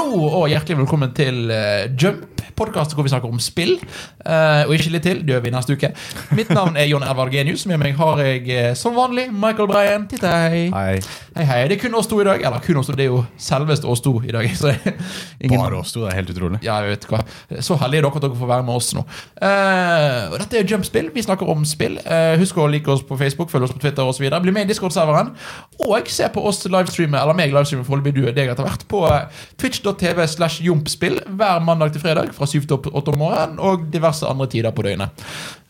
og hjertelig velkommen til eh, Jump, podkast hvor vi snakker om spill. Eh, og ikke litt til, det gjør vi neste uke. Mitt navn er Jon Edvard Genius. Med meg har jeg eh, som vanlig Michael Breien. Titt hei. Nei, Hei, hei. Det er kun oss to i dag. Eller kun oss to, det er jo selveste oss to i dag. Så det er ingen bare oss to. Det er helt utrolig. ja, jeg vet hva. Så heldige dere at dere får være med oss nå. Eh, og dette er Jumpspill. Vi snakker om spill. Eh, husk å like oss på Facebook, følg oss på Twitter osv. Bli med i Discord-serveren. Og se på oss livestreame, eller meg livestreame foreløpig, du og deg etter hvert, på eh, twitch.tv slash jumpspill hver mandag til fredag fra 7 til 8 om morgenen og diverse andre tider på døgnet.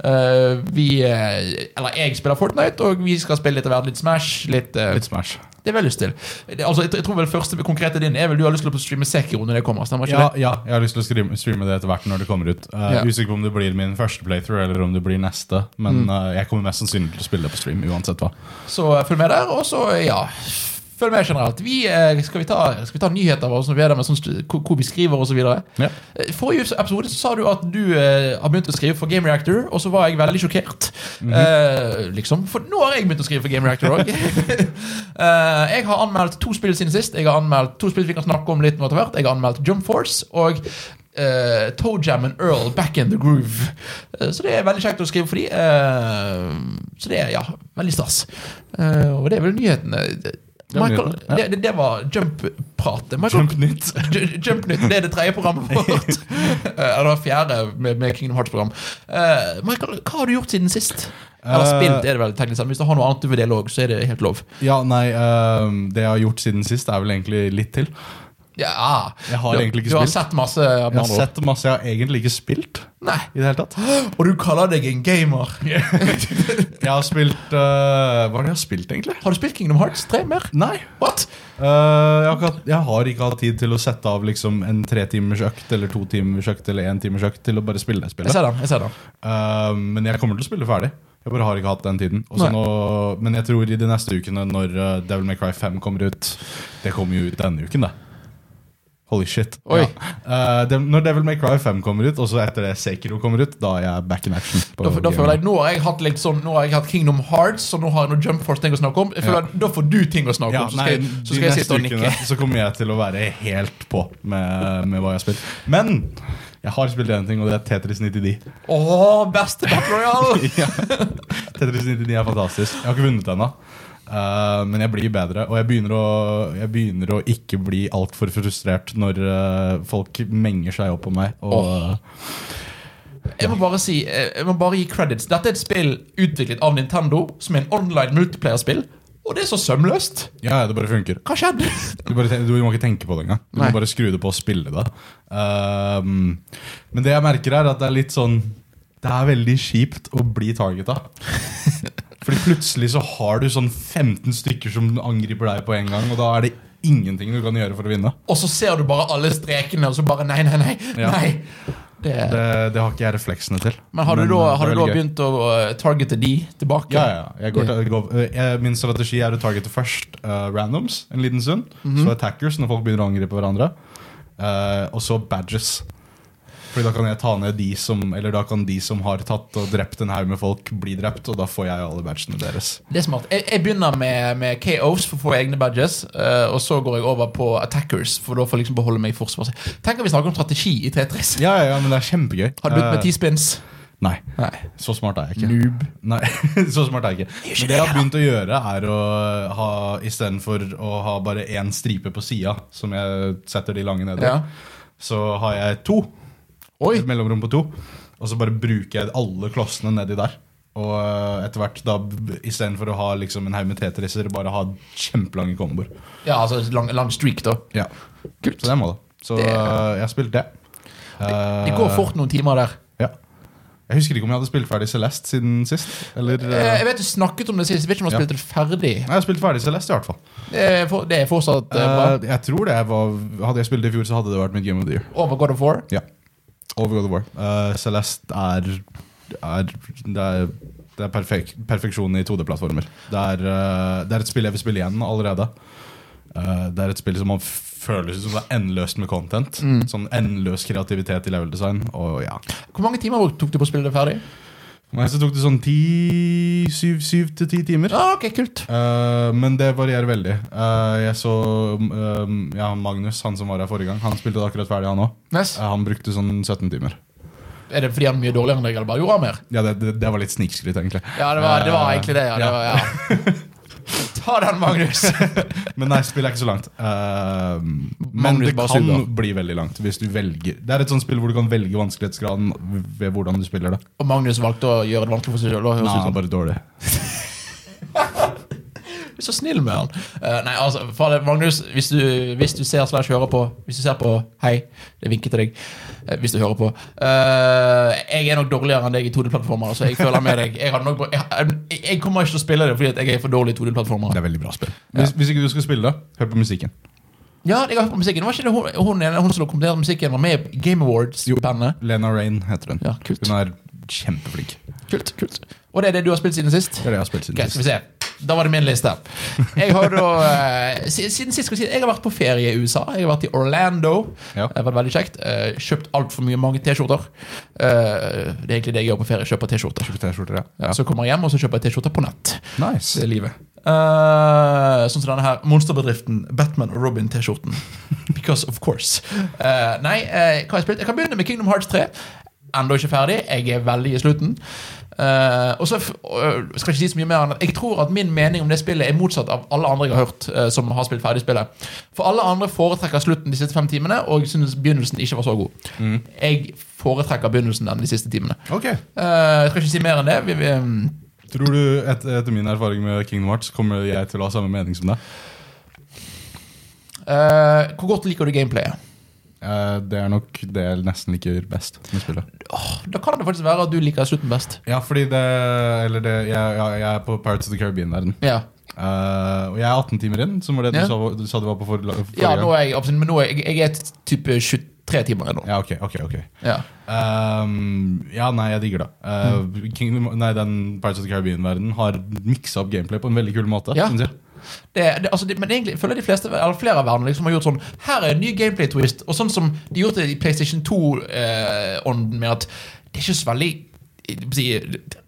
Eh, vi eh, Eller jeg spiller Fortnite, og vi skal spille litt av hvert. Litt Smash, litt, eh, Litt Smash. Det er vel lyst til. Det, altså, jeg, jeg tror vel første konkrete din er vel du har lyst til å streame Sekiro når det kommer. Stemmer ikke Ja, det? ja, jeg har lyst til å streame, streame det etter hvert når det kommer ut. Uh, Ja. Usikker på om det blir min første playthrough eller om det blir neste. Men eh, jeg kommer mest sannsynlig til å spille det på stream uansett hva. Så eh, følg med der, og så, ja Følg med generelt. Vi, eh, skal, vi ta, skal vi ta nyheter av oss når vi er der med sånn, stu- hvor hvor vi skriver osv.? Ja. Eh, Forrige episode så sa du at du eh, har begynt å skrive for Game Reactor, og så var jeg veldig sjokkert. eh, liksom, For nå har jeg begynt å skrive for Game Reactor òg. eh, jeg har anmeldt to spill siden sist. Jeg har anmeldt to spill vi kan snakke om litt nå etter hvert. Jeg har anmeldt Jump Force og eh, Toe Jam and Earl Back in the Groove. Eh, så det er veldig kjekt å skrive for de. eh, så det er ja, veldig stas. Eh, og det er vel nyhetene. var Michael, nyhetene, ja. det, det, det var jump-pratet. Michael, Jump nytt. J- Jump Nytt, det er det tredje programmet vårt. Eh, Eller det fjerde med, med Kingdom Hearts-program. Eh, Michael, hva har du gjort siden sist? Eller Eh, spilt, er det vel teknisk sett. Hvis du har noe annet du vil dele òg, så er det helt lov. Ja, nei, eh, det jeg har gjort siden sist, er vel egentlig litt til. Ja. Jeg har du, egentlig ikke du har spilt. sett masse av Jeg har andre ord. sett masse jeg har egentlig ikke spilt. Nei. I det hele tatt Og du kaller deg en gamer. Jeg har spilt eh, Hva er det jeg har spilt, egentlig? Har du spilt Kingdom Hearts 3 mer? Nei. What? Eh, jeg, har ikke hatt, jeg har ikke hatt tid til å sette av liksom en tretimers økt eller to timers økt eller en timers økt til å bare spille det Jeg spillet. ser den. jeg ser den Eh, men jeg kommer til å spille ferdig. Jeg bare har ikke hatt den tiden. Og så Nei. nå, men jeg tror i de neste ukene, når eh, Devil May Cry 5 kommer ut Det kommer jo ut denne uken, det. Holy shit. Oi. Eh, Dev- når Devil May Cry 5 kommer ut, og så etter det Sekiro kommer ut, da er jeg back in action. på Da, da gaming. føler jeg, nå, har jeg hatt litt sånn, nå har jeg hatt Kingdom Hearts, og nå har jeg noe Jump Force-ting å snakke om. Jeg føler Ja. at Da får du ting å snakke ja, om, så nei, skal, jeg- så skal de jeg sitte neste og nikke. ukene så kommer jeg til å være helt på med, med hva jeg har spilt. Men jeg har spilt én ting, og det er Tetris 99. Åh, beste Battle Royale! Ja. Tetris 99 er fantastisk. Jeg har ikke vunnet ennå. Eh, men jeg blir bedre, og jeg begynner å, jeg begynner å ikke bli altfor frustrert når eh, folk menger seg opp på meg. Og, eh, Jeg må bare si, eh, jeg må bare gi credits. Dette er et spill utviklet av Nintendo, som er en online multiplayer-spill. Og det er så sømløst! ja, ja, det bare funker. Hva skjedde? Du, bare, ten- du må ikke tenke på det engang. Du Nei. må bare skru det på og spille det. Ehm, men det jeg merker, er at det er litt sånn Det er veldig kjipt å bli target av. Fordi plutselig så har du sånn 15 stykker som angriper deg på en gang, og da er det ingenting du kan gjøre for å vinne. Og så ser du bare alle strekene, og så bare nei, nei, nei. Ja. nei. Det, Det, det har ikke jeg refleksene til. men har du da, eh, har du det er da veldig gøy. begynt å eh, targete de tilbake? Ja, ja. Jeg går til, går, eh, jeg, min strategi er å targete først eh, randoms en liten stund. Mhm. Så attackers når folk begynner å angripe hverandre. eh, og så badges. Fordi da kan jeg ta ned de som Eller da kan de som har tatt og drept en haug med folk, bli drept. Og da får jeg alle badgene deres. Det er smart. Jeg, jeg begynner med, med KOs for å få egne badges, eh, og så går jeg over på attackers, for da får jeg liksom beholde meg i forsvar. Tenk om vi snakker om strategi i Tetris. Ja, ja, ja, men det er kjempegøy. Har du begynt med Eh, ti spins? Nei. Nei. Så smart er jeg ikke. Nei, så smart er jeg ikke. Men det jeg har begynt å gjøre, er å ha istedenfor å ha bare én stripe på sida, som jeg setter de lange ned i, Ja. så har jeg to. Oi. Et mellomrom på to. Og så bare bruker jeg alle klossene nedi der. Og eh, etter hvert, da b- istedenfor å ha liksom en haug med tetriser, bare ha kjempelange komboer. Ja, altså lang, lang streak, da. Ja. Kult. Så det er målet. Så Det- eh, jeg har spilt det. Eh, Det går fort noen timer der. Ja. Jeg husker ikke om jeg hadde spilt ferdig Celeste siden sist. Eller, Eh, eh, Jeg vet du snakket om det sist. Jeg vet ikke om du har Ja. spilt det ferdig. Nei, Jeg har spilt ferdig Celeste, i hvert fall. Det er, for, det er fortsatt eh, bra. Eh, jeg tror det var Hadde jeg spilt det i fjor, så hadde det vært mitt Game of the Year. Over God of War. Ja. Over God of War. Eh, Celeste er, er Det er, det er perfek perfeksjon i 2D-plattformer. Det, er, eh, det er et spill jeg vil spille igjen allerede. Eh, det er et spill som man føles som det er endeløst med content. Mm. Sånn Endeløs kreativitet i level design. Og ja Hvor mange timer tok du på å spille det ferdig? For meg så tok det sånn ti, syv, syv til ti timer. Ja, Ah, ok, kult. Eh, men det varierer veldig. Eh, jeg så eh, ja, Magnus, han som var her forrige gang, han spilte det akkurat ferdig, han òg. Nice. han brukte sånn 17 timer. Er det fordi han er mye dårligere enn deg, eller bare gjorde han mer? Ja, Det, det, det var litt snikskryt, egentlig. Ja, det var, det var Eh, egentlig det. Ja. Det ja. var, ja. Ta den, Magnus. Men nei, spillet er ikke så langt. Eh, men Magnus det bare kan suger. bli veldig langt hvis du velger. Det er et sånt spill hvor du kan velge vanskelighetsgraden ved hvordan du spiller det. Og Magnus valgte å gjøre det vanskelig for seg sjøl. Nei, han er bare dårlig. Du er så snill med han. Eh, nei, altså, fader, Magnus, hvis du, hvis du ser slash hører på Hvis du ser på Hei, det vinker til deg. eh, hvis du hører på. Eh, jeg er nok dårligere enn deg i 2D-plattformer, så jeg føler med deg. Jeg, hadde nok, jeg, jeg kommer ikke til å spille det fordi at jeg er for dårlig i 2D-plattformer. Det er veldig bra spill. Hvis, hvis ikke du skal spille det, hør på musikken. Ja, jeg har hørt på musikken. Var ikke det hun, hun, ene- hun som kommenterte musikken, var med i Game Awards-bandet? Lena Rain heter hun. Ja, kult. Hun er kjempeflink. Kult, kult. Og det er det du har spilt siden sist? Det er det jeg har spilt siden Greit, skal sist. vi se. Da var det min liste. Jeg har da, eh, si- siden sist skal jeg si Jeg har vært på ferie i USA. Jeg har vært i Orlando. Ja. Det har vært veldig kjekt. Eh, Kjøpt altfor mye mange T-skjorter. Eh, Det er egentlig det jeg gjør på ferie. Kjøper T-skjorter. T-skjorter, ja. Så kommer jeg hjem og så kjøper jeg T-skjorter på nett. Det Nice. er livet. Eh, sånn som denne her monsterbedriften Batman og Robin-T-skjorten. Because of course. Eh, nei, eh, hva har jeg spilt? Jeg kan begynne med Kingdom Hearts 3. Enda ikke ferdig. Jeg er veldig i slutten. Eh, og så f- øh, skal jeg ikke si så mye mer enn at Jeg tror at min mening om det spillet er motsatt av alle andre jeg har hørt. eh, Som har spilt ferdig spillet For alle andre foretrekker slutten de siste fem timene, og synes begynnelsen ikke var så god. Jeg foretrekker begynnelsen enn de siste timene. Ok. Eh, jeg skal ikke si mer enn det. Vi, vi, Tror du, et, etter min erfaring med Kingdom Hearts, kommer jeg til å ha samme mening som deg? eh, hvor godt liker du gameplayet? Eh, det er nok det jeg nesten liker best med spillet. Da kan det faktisk være at du liker slutten best. Ja, fordi det Eller det Jeg, jeg, jeg er på Pirates of the Caribbean-verden. Ja, Eh, og jeg er 18 timer inn, som var det du, Ja. sa, du sa du var på for, forrige ja gang. nå er jeg absolutt, men nå er jeg, jeg er type 23 timer ennå. Ja, ok, ok, ok Ja. Ehm, Ja, nei, jeg digger det. Eh, Mm. Kingdom, nei, den Pirates of the Caribbean-verdenen har miksa opp gameplay på en veldig kul måte. Ja. synes jeg. Det, det, altså, det, men egentlig jeg føler de fleste, eller flere av verden liksom har gjort sånn Her er en ny gameplay twist. Og sånn som de gjorde det i PlayStation 2-ånden, med at det er ikke så veldig jeg vil si,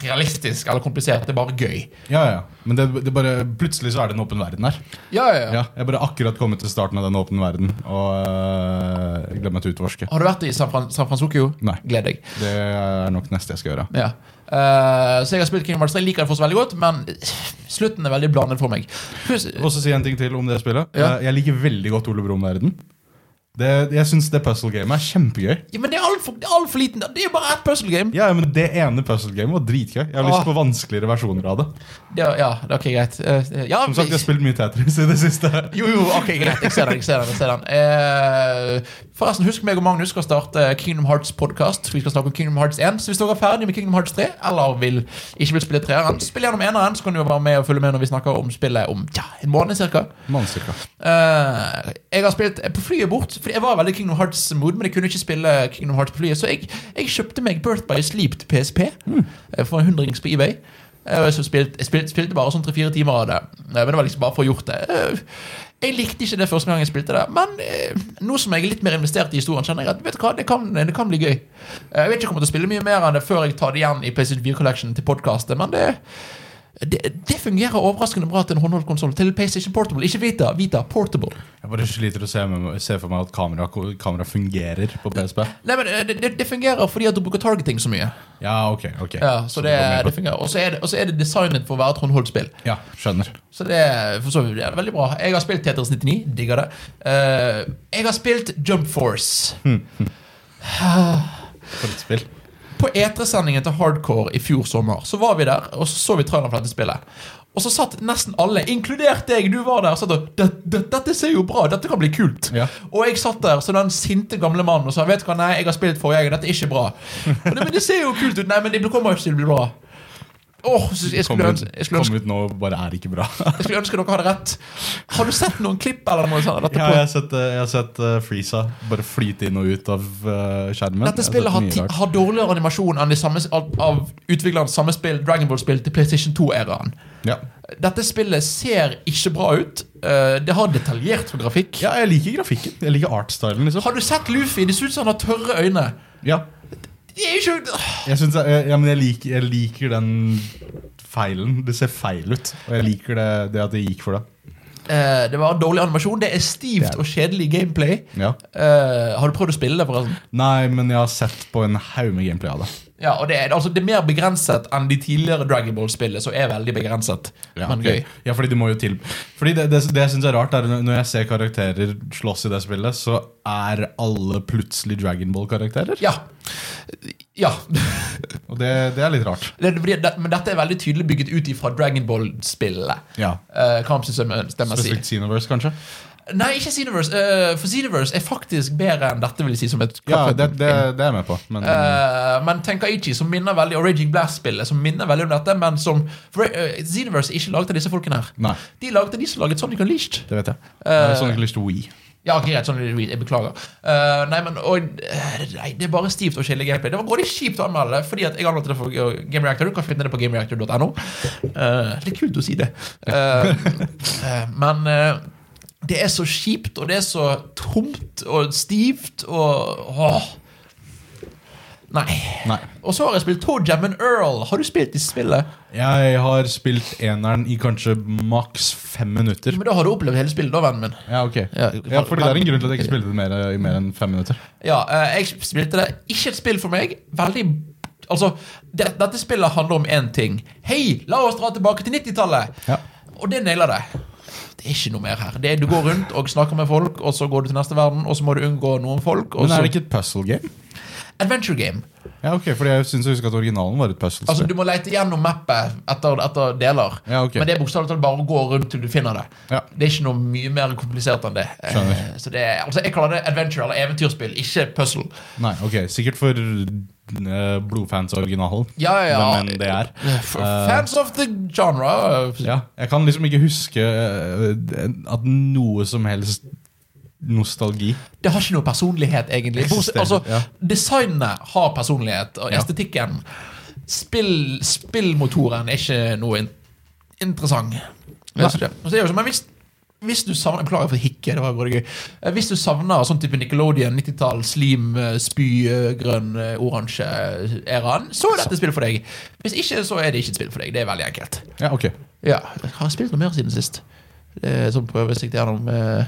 realistisk eller komplisert. Det er bare gøy. Ja, ja, Men det, det bare, plutselig så er det en åpen verden her. Ja, ja, ja. Ja, jeg bare akkurat kommet til starten av den åpne verden og uh, glemmer meg til å utforske. Har du vært i San, Fran San Francisco? Nei. Gled deg. Det er nok neste jeg skal gjøre. Ja. Eh, så jeg har spilt Kingdom Hearts 3. Jeg liker det fortsatt veldig godt, men slutten er veldig blandet for meg. Pluss, Og så si en ting til om det spillet. Ja. Eh, Jeg liker veldig godt Ole Brumm-verden. Det, jeg syns det puzzle-gamet er kjempegøy. Ja, men det er altfor alt for liten. Det er jo bare ett puzzle game. Ja, men Det ene puzzle-gamet var dritgøy. Jeg har lyst Åh. på vanskeligere versjoner av det. Det er- ja, det er ok, greit. Eh, ja, Som sagt, jeg har spilt mye Tetris i det siste. jo, jo, ok, greit. Jeg ser den. jeg ser den, jeg ser den. Eh, forresten, husk meg og Magnus skal starte Kingdom Hearts podcast Vi skal snakke om Kingdom Hearts 1. Så hvis dere er ferdig med Kingdom Hearts 3, eller vil, ikke vil spille treeren, spill gjennom eneren, så kan du jo være med og følge med når vi snakker om spillet om ja, en måned cirka. Mannsikka. Eh, jeg har spilt eh, på flyet bort, Fordi jeg var veldig Kingdom Hearts-mood, men jeg kunne ikke spille Kingdom Hearts på flyet, så jeg, jeg kjøpte meg Birth by Sleep til PSP eh, for en hundrings på eBay. Eh, og så spilte, jeg spilte, spilte bare sånn tre-fire timer av det, Eh, men det var liksom bare for å gjort det. Eh, jeg likte ikke det første gang jeg spilte det, men eh, nå som jeg er litt mer investert i historien, kjenner jeg at vet du hva, det kan, det kan bli gøy. Eh, jeg vet ikke om jeg kommer til å spille mye mer enn det før jeg tar det igjen i PlayStation 4 Collection til podkastet, men det det, det fungerer overraskende bra til en håndholdt konsoll. Til PlayStation Portable. Ikke Vita, Vita Portable. Jeg bare sliter å se, med, se for meg at kamera, kamera fungerer på PSP. Nei, men eh, det, det, det fungerer fordi at du bruker targeting så mye. Ja, ok. ok Ja, så det, går mer det på- fungerer. Og så er det, og så er det designet for å være et håndholdt spill. Ja, skjønner. Så det, er- for så vidt, det er veldig bra. Jeg har spilt Tetris 99. Digger det. Eh, jeg har spilt Jump Force. For et spill. På E3-sendingen til Hardcore i fjor sommer Så var vi der, og så så vi traileren for dette spillet. Og så satt nesten alle, inkludert deg, du var der, og satt og "Det- det- Dette ser jo bra dette kan bli kult. Ja. Og jeg satt der som den sinte gamle mannen og sa Vet du hva, nei, jeg har spilt forrige, gang, dette er ikke bra. Og det, men det ser jo kult ut. Nei, men det kommer ikke til å bli bra. Åh, så jeg skulle, Kommer ut, ønske, jeg, skulle ønske, kom ut nå og bare er ikke bra. jeg skulle ønske dere hadde rett. Har du sett noen klipp eller noe sånt? av Dette, Ja, på? jeg har sett, eh, jeg har sett eh, Freeza bare flyte inn og ut av eh, skjermen. Dette spillet har, ti- har dårligere animasjon enn de samme, av, av utviklerne samme spill, Dragon Ball-spill til PlayStation 2-æraen. ja. Dette spillet ser ikke bra ut. Eh, Det har detaljert grafikk. ja, jeg liker grafikken. Jeg liker artstylen, liksom. Har du sett Luffy? Det ser ut som han har tørre øyne. Ja. Det er jo ikke Jeg, synes, jeg, ja, men jeg, liker, jeg liker den feilen. Det ser feil ut. Og jeg liker det, det at det gikk for det. Eh, Det var dårlig animasjon. Det er stivt Det er- og kjedelig gameplay. Ja. Eh, har du prøvd å spille det, forresten? Nei, men jeg har sett på en haug med gameplay av det. Ja, og det er, altså, det er mer begrenset enn de tidligere Dragon Ball-spillene, som er veldig begrenset. men gøy. ok. Ja, fordi du må jo til Fordi det, det, det jeg syns er rart, er når når jeg ser karakterer slåss i det spillet, så er alle plutselig Dragon Ball-karakterer. Ja. Ja. Og det, det er litt rart. Det, fordi det, men dette er veldig tydelig bygget ut ifra Dragon Ball-spillet. Ja. Eh, Kampsystemet si. Spesielt Xenoverse, kanskje. Nei, ikke Xenoverse. Eh, for Xenoverse er faktisk bedre enn dette, vil jeg si, som et Ja, kaffekopp- det, det, det er jeg med på. Men Eh, men Tenkaichi, som minner veldig om Raging Blast-spillet, som minner veldig om dette, men som for, eh, Xenoverse er ikke laget av disse folkene her. nei, De lagde de som laget Sonic Unleashed. det vet jeg. Det Eh, er sånn ikke lyst til Wii. Ja, greit, sånn, jeg beklager. Eh, nei, men og, eh, nei, Det er bare stivt og kjedelig gameplay. Det var både kjipt å anmelde det, fordi at jeg anmeldte det for Game Reactor. Du kan finne det på gamereactor.no. Eh, litt kult å si det. Eh, eh, men eh, det er så kjipt, og det er så tomt og stivt og åh. Nei. Nei. Og så har jeg spilt Toe and Earl. Har du spilt i spillet? Jeg har spilt eneren i kanskje maks fem minutter. Men da har du opplevd hele spillet, da, vennen min. Ja, ok. Ja, Ja, fordi det er en grunn til at jeg ikke spilte det mer, i mer enn fem minutter. Ja, eh, jeg spilte det. Ikke et spill for meg. Veldig Altså, det, dette spillet handler om én ting. Hei, la oss dra tilbake til 90-tallet! Ja. Og det nailer det. Det er ikke noe mer her. Det er, du går rundt og snakker med folk, og så går du til neste verden, og så må du unngå noen folk. Og Men er så det ikke et puzzle game? Adventure game. Ja, ok, fordi jeg synes jeg husker at originalen var et puzzle Altså, du må lete gjennom mappet etter, etter deler. Ja, ok. Men det er bokstavelig talt bare å gå rundt til du finner det. Ja. Det er ikke noe mye mer komplisert enn det. Eh, Skjønner. Så det er, altså, jeg kaller det adventure eller eventyrspill, ikke puzzle. Nei, ok, sikkert for eh, blodfans av originalen. Ja, ja, Eh, ja. Hvem enn det er. Eh, F- Fans of the genre. eh, Ja, jeg kan liksom ikke huske eh, at noe som helst nostalgi Det har ikke noe personlighet, egentlig. Bortsett- Eksisterer, Altså, ja. Designene har personlighet, og Ja. estetikken spill, Spillmotoren er ikke noe in interessant. Nei. Så det, så det er jo ikke- men hvis, hvis du savner Beklager for hikke, det var bare gøy. Eh, Hvis du savner sånn type Nickelodeon, 90-tall, slim, eh, spy, eh, grønn, eh, oransje eh, eraen, så er dette spill for deg. Hvis ikke, så er det ikke et spill for deg. Det er veldig enkelt. Ja, ok. Ja, jeg har spilt noe mer siden sist. Eh, Som prøver seg gjennom eh,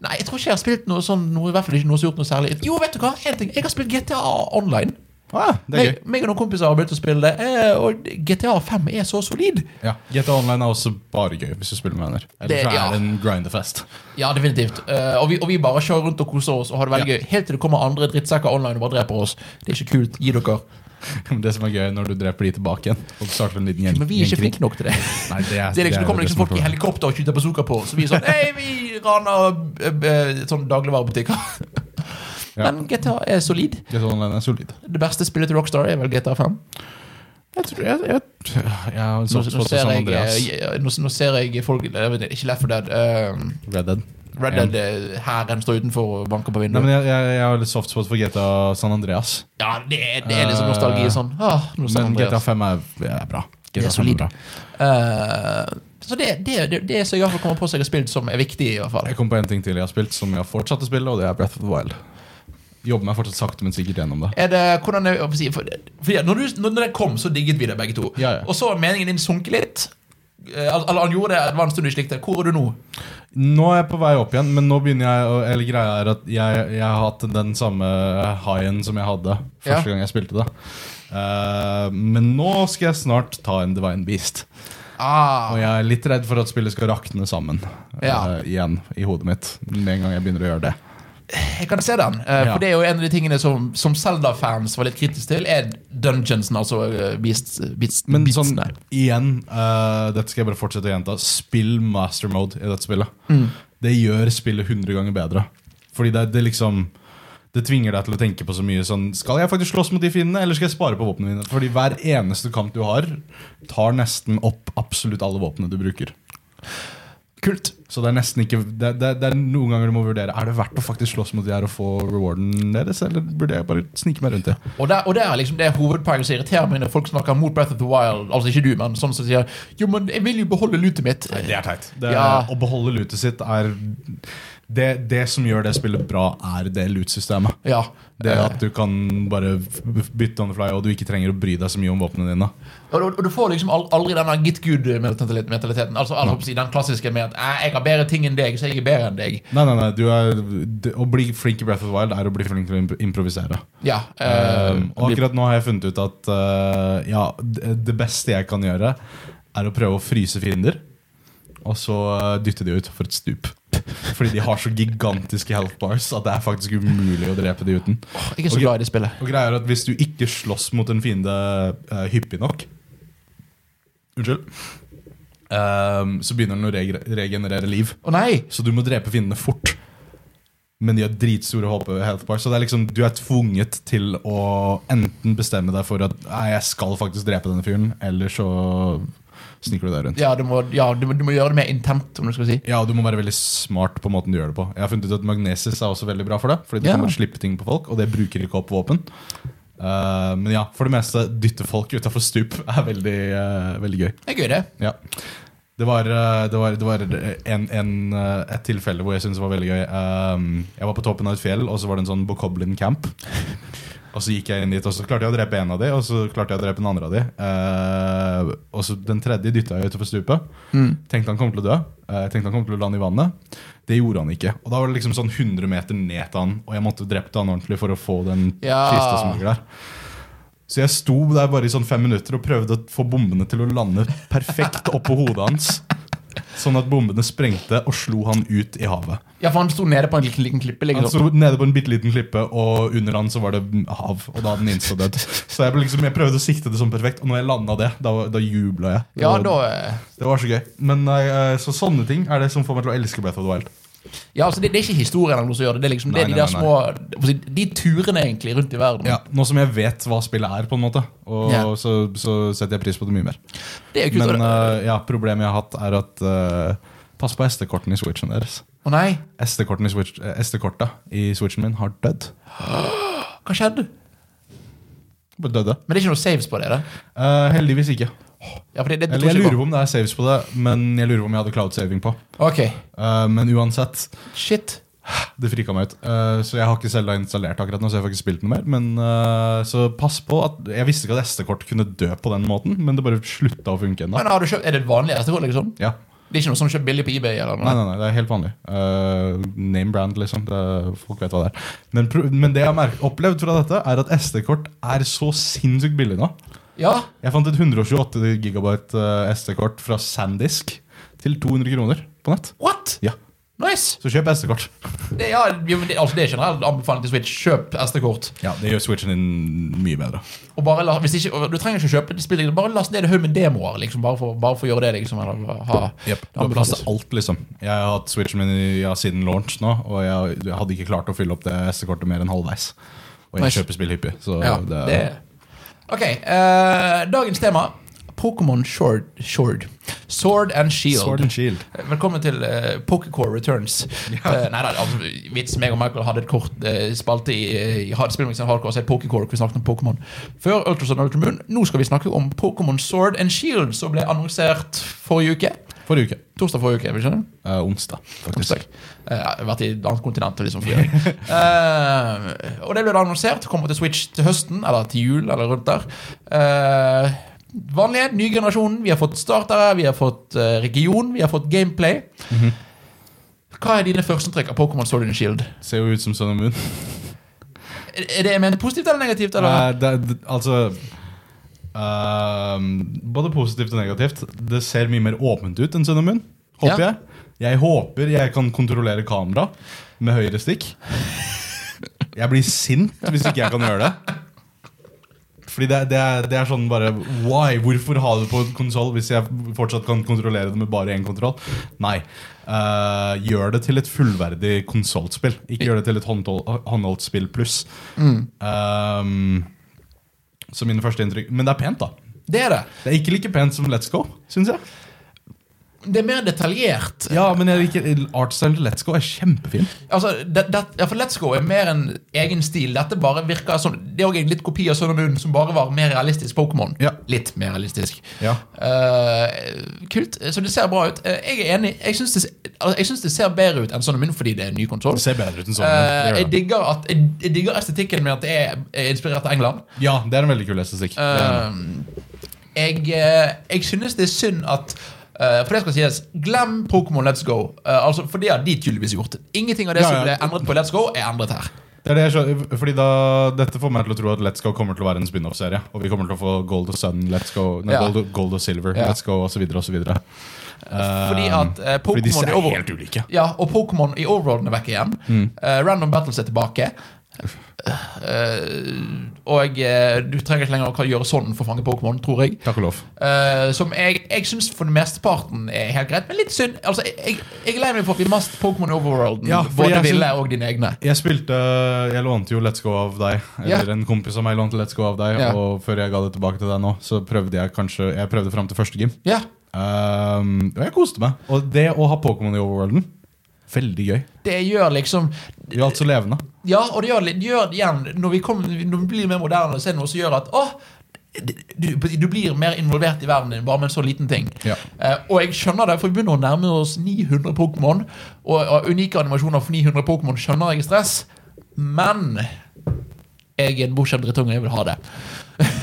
Nei, jeg tror ikke jeg har spilt noe sånn noe, I hvert fall ikke noe som har gjort noe særlig. Jo, vet du hva? En ting, Jeg har spilt GTA online. Ah, det er Meg, gøy. meg og noen kompiser har begynt å spille det, eh, og GTA5 er så solid. Ja, GTA Online er også bare gøy hvis du spiller med venner. Det- Eller så ja. er det en grinderfest. Ja, definitivt. Eh, og, vi, og vi bare kjører rundt og koser oss og har det veldig Ja. gøy. Helt til det kommer andre drittsekker online og bare dreper oss. Det er ikke kult. Gi dere. Men Det som er gøy, er når du dreper de tilbake igjen og starter en liten gjeng. Men vi er ikke gjengkrig. flinke nok til det. Nei, det, er, Det, er liksom, det kommer liksom folk i helga. helikopter og skyter bazooka på oss. Så vi er sånn Hei, vi raner eh, eh, sånn dagligvarebutikker. Ja. Men GTA er solid. GTA Online er solid. Det beste spillet til Rockstar er vel GTA 5. Jeg tror jeg, jeg, jeg har en Nå, soft nå, spot for ser San jeg, Andreas. eh, nå, nå ser jeg folk eh, jeg vet, Ikke Left 4 Dead. eh, Red Dead. Red Dead eh, hæren står utenfor og banker på Nei, vinduet. men jeg, jeg, jeg har litt soft spot for GTA San Andreas. ja, det, er- det er liksom Eh, nostalgi sånn. Ah, nå ser Men GTA Andreas. 5 er, er bra. Det er GTA 5 solid. bra. Eh, så det, det, det, det som jeg i hvert fall kommer på seg har spilt, som er viktig, i hvert fall. Jeg kom på en ting til jeg har spilt som jeg har fortsatt å spille, og det er Breath of the Wild. Jobber meg fortsatt sakte, men sikkert gjennom det. Er det, hvordan er, hva skal jeg si, for, for ja, når, du, når den kom, så digget vi det begge to. Ja, ja. Og så har meningen din sunket litt. Eh, al- Eller han gjorde det, det var en stund du ikke likte det. Hvor er du nå? Nå er jeg på vei opp igjen, men nå begynner jeg å, Eller greia er at jeg, jeg har hatt den samme high-en som jeg hadde første Ja. gang jeg spilte det. Eh, men nå skal jeg snart ta en Divine Beast. Ah, Og jeg er litt redd for at spillet skal rakne sammen Ja. eh, igjen i hodet mitt med en gang jeg begynner å gjøre det. Jeg kan se den. eh, Ja. For det er jo en av de tingene som, som Zelda-fans var litt kritiske til, er dungeonsen, altså eh, beasts, beats, Men sånn, beatsene. igjen, eh, dette skal jeg bare fortsette å gjenta. Spill master mode i dette spillet. Det gjør spillet 100 ganger bedre. Fordi det, det liksom Det tvinger deg til å tenke på så mye sånn Skal jeg faktisk slåss mot de fiendene, eller skal jeg spare på våpnene mine? Fordi hver eneste kamp du har, tar nesten opp absolutt alle våpnene du bruker. Kult. Så det er nesten ikke det, det, det er noen ganger du må vurdere Er det verdt å faktisk slåss mot de her og få rewarden deres, eller burde jeg bare snike meg rundt det? Og der, og der er liksom det er hovedpoenget som irriterer meg når folk snakker mot Breath of the Wild. Altså ikke du, men sånn som sier Jo, men jeg vil jo beholde lutet mitt. Det er teit. Ja. Å beholde lutet sitt er det, det som gjør det spillet bra, er det loot-systemet. Ja. Det Eh, at du kan bare f- f- bytte on the fly, og du ikke trenger å bry deg så mye om våpnene dine. Og, og, og du får liksom al- aldri denne get good-mentaliteten. Altså, jeg håper å si, Den klassiske med at «Æ, 'jeg har bedre ting enn deg, så jeg er bedre enn deg'. Nei, nei, nei, du er, det, Å bli flink i Breath of the Wild er å bli flink til å imp- improvisere. Ja, eh, Um, og akkurat nå har jeg funnet ut at eh, ja, d- det beste jeg kan gjøre, er å prøve å fryse fiender. Og så eh, dytte de ut for et stup. Fordi de har så gigantiske health bars at det er faktisk umulig å drepe de uten. Jeg er så Ok. glad i det spillet. Og greia er at Hvis du ikke slåss mot en fiende eh, hyppig nok Unnskyld. ehm, så begynner den å reg- regenerere liv. Å nei! Så du må drepe fiendene fort. Men de har dritstore HP health bars, så det er liksom, du er tvunget til å enten bestemme deg for at Nei, jeg skal faktisk drepe denne fyren, eller så sniker du deg rundt. Ja, du må, ja du, må, du må gjøre det mer intent, om du skal si. Ja, og du må være veldig smart på måten du gjør det på. Jeg har funnet ut at magnesis er også veldig bra for det, fordi du Ja. kan bare slippe ting på folk, og det bruker ikke opp våpen. Eh, men ja, for det meste, dytte folk utafor stup er veldig, eh, veldig gøy. Det er gøy, det. Ja. Det var, eh, det var, det var en, en, eh, et tilfelle hvor jeg syntes det var veldig gøy. Um, Jeg var på toppen av et fjell, og så var det en sånn Bokoblin camp. Og så gikk jeg inn dit, og så klarte jeg å drepe en av de, og så klarte jeg å drepe den andre av de. Eh, og så den tredje dytta jeg utover stupet. Tenkte han kom til å dø. Eh, tenkte han kom til å lande i vannet. Det gjorde han ikke. Og da var det liksom sånn 100 meter ned til han, og jeg måtte drept han ordentlig for å få den Ja. kista som ligger der. Så jeg sto der bare i sånn fem minutter og prøvde å få bombene til å lande perfekt oppå hodet hans. Sånn at bombene sprengte og slo han ut i havet. Ja, for han sto nede på en liten, liten klippe. liksom. Ligger Han sto nede på en bitte liten klippe, og under han så var det hav. Og da hadde han insta-dødd. Så jeg, ble liksom, jeg prøvde å sikte det sånn perfekt, og når jeg landa det, da, da jubla jeg. ja, Det da var- eh, Det var så gøy. Men eh, så sånne ting er det som får meg til å elske Breath of the Wild. Ja, altså det, det er ikke historien eller noe som gjør det. Det er liksom det Nei, er de nei, der nei, små hva skal jeg si, De turene egentlig rundt i verden. Ja, Nå som jeg vet hva spillet er, på en måte, og Ja. så, så setter jeg pris på det mye mer. Det er jo kult. Men å- eh, ja, problemet jeg har hatt, er at eh, Pass på SD-kortene i switchen deres. Å nei, SD-kortene i, switch, eh, SD-korta i switchen min har dødd. hva skjedde? Bare Dødde. Men det er ikke noe saves på det? da? Eh, heldigvis ikke. Ja, for det, det, det Eller jeg lurer på. på om det er saves på det, men jeg lurer på om jeg hadde cloud saving på. Ok, Eh, men uansett, shit. det frika meg ut. Eh, så jeg har ikke Zelda installert akkurat nå, så jeg får ikke spilt noe mer. Men, eh, så pass på at Jeg visste ikke at SD-kort kunne dø på den måten, men det bare slutta å funke ennå. Men har du kjøpt, Er det et vanlig SD-kort? liksom? Ja. Det er ikke noe som du kjøper billig på eBay? eller Nei, noe? nei, nei, det er helt vanlig. Eh, name brand, liksom. Det, folk vet hva det er. Men, pro men det jeg har merk- opplevd fra dette, er at SD-kort er så sinnssykt billig nå. Ja, Jeg fant et 128 gigabyte eh, SD-kort fra Sandisk til 200 kroner på nett. what? Ja, Nice! Så kjøp SD-kort. Det, ja, jo, men det, altså, det er generelt anbefaling til Switch. Kjøp SD-kort. Ja, Det gjør switchen din mye bedre. Og bare la, hvis ikke, og Du trenger ikke kjøpe spillet, bare last ned en haug med demoer. liksom, Bare for, bare for å gjøre det, liksom. eller ha... Du har plass til alt, liksom. Jeg har hatt switchen min i- ja, siden launch nå, og jeg, jeg hadde ikke klart å fylle opp det SD-kortet mer enn halvveis. Og jeg Nice. kjøper spill hyppig, så Ja, det, det Ok, eh, dagens tema Pokémon Sword, Sword Sword and Shield Sword and Shield. Velkommen til uh, Pokécore Returns Eh, Neida, altså, vits meg og Michael hadde et kort eh, spalte i, i hard- spillmiksen Hardcore og sett Pokécore hvor vi snakket om Pokémon Før Ultrason og Ultramoon Nå skal vi snakke om Pokémon Sword and Shield Som ble annonsert forrige uke Forrige uke. Torsdag forrige uke, vil du skjønne? Eh, onsdag, faktisk. Onsdag. Eh, Jeg har vært i et annet kontinent. Liksom, for det. Eh, og det ble da annonsert. Kommer til Switch til høsten, eller til jul, eller rundt der. Eh, vanlige, ny generasjon. Vi har fått startere, vi har fått eh, region, vi har fått gameplay. Hva er dine førsteinntrykk av Pokémon Sword and Shield? Ser jo ut som Sun and Moon. Er, er det men positivt eller negativt? Eller? Eh, det, det, altså ehm, Både positivt og negativt. Det ser mye mer åpent ut enn Sun and Moon, håper Ja. jeg. Jeg håper jeg kan kontrollere kamera med høyre stikk. Jeg blir sint hvis ikke jeg kan gjøre det. Fordi det, det, er, det er sånn bare Why? Hvorfor ha det på en konsoll hvis jeg fortsatt kan kontrollere det med bare én kontroll? Nei. Eh, gjør det til et fullverdig konsollspill. Ikke gjør det til et håndhold- håndholdt spill pluss. Um, så mine første inntrykk Men det er pent, da. det er det. Det er ikke like pent som Let's Go, syns jeg. Det er mer detaljert. Ja, men jeg liker artstyle til Let's Go er kjempefin. Altså, det, det, ja, for Let's Go er mer en egen stil. Dette bare virker som Det er også en litt kopi av Sun og Moon, som bare var mer realistisk Pokémon. Ja. Litt mer realistisk. Ja. Eh, kult. Så det ser bra ut. Eh, jeg er enig. Jeg syns det, altså, jeg synes det ser bedre ut enn Sun og Moon fordi det er en ny konsoll. Det ser bedre ut enn sånn. det jeg, gjør det. digger at- jeg, jeg digger estetikken med at det er, er inspirert av England. ja, det er en veldig kul estetikk. Eh. Det er det. jeg, eh, jeg synes det er synd at eh, For det skal sies, glem Pokémon Let's Go. Eh, altså, for det har de tydeligvis gjort. Ingenting av det Ja, som ja. ble endret på Let's Go, er endret her. Det er det jeg skjønner, fordi da, Dette får meg til å tro at Let's Go kommer til å være en spin-off-serie. Og vi kommer til å få Gold og Sun, Let's Go, nei, Ja. Gold, Gold og Silver, Ja. Let's Go osv. osv. Fordi at eh, Fordi disse Pokémon i er over- helt Mm. ulike. Ja, og Pokémon i overworlden er vekk igjen. Eh, Random Battles er tilbake. Eh, og eh, du trenger ikke lenger å gjøre sånn for å fange Pokémon, tror jeg. Takk og lov. Eh, som jeg, jeg syns for den meste parten er helt greit, men litt synd. Altså, jeg, jeg, jeg er lei meg for at vi mast Pokémon i overworlden, Ja, fordi både jeg ville syns- og dine egne. Jeg spilte Jeg lånte jo Let's Go av deg. Ja. Eller en kompis av meg lånte Let's Go av deg. Ja. Og før jeg ga det tilbake til deg nå, så prøvde jeg kanskje Jeg prøvde fram til første gym. Ja, Ehm, og jeg koste meg. Og det å ha Pokémon i overworlden, veldig gøy. det gjør liksom Vi er altså levende. Ja, og det gjør, det gjør igjen Når vi, kommer- når vi blir mer moderne, så er det noe som gjør at åh, du, du blir mer involvert i verden din bare med en så liten ting. Ja. Eh, og jeg skjønner det, for vi begynner å nærme oss 900 Pokémon. Og, og unike animasjoner for 900 Pokémon skjønner jeg er stress, men jeg er en bortskjemt drittunge, jeg vil ha det.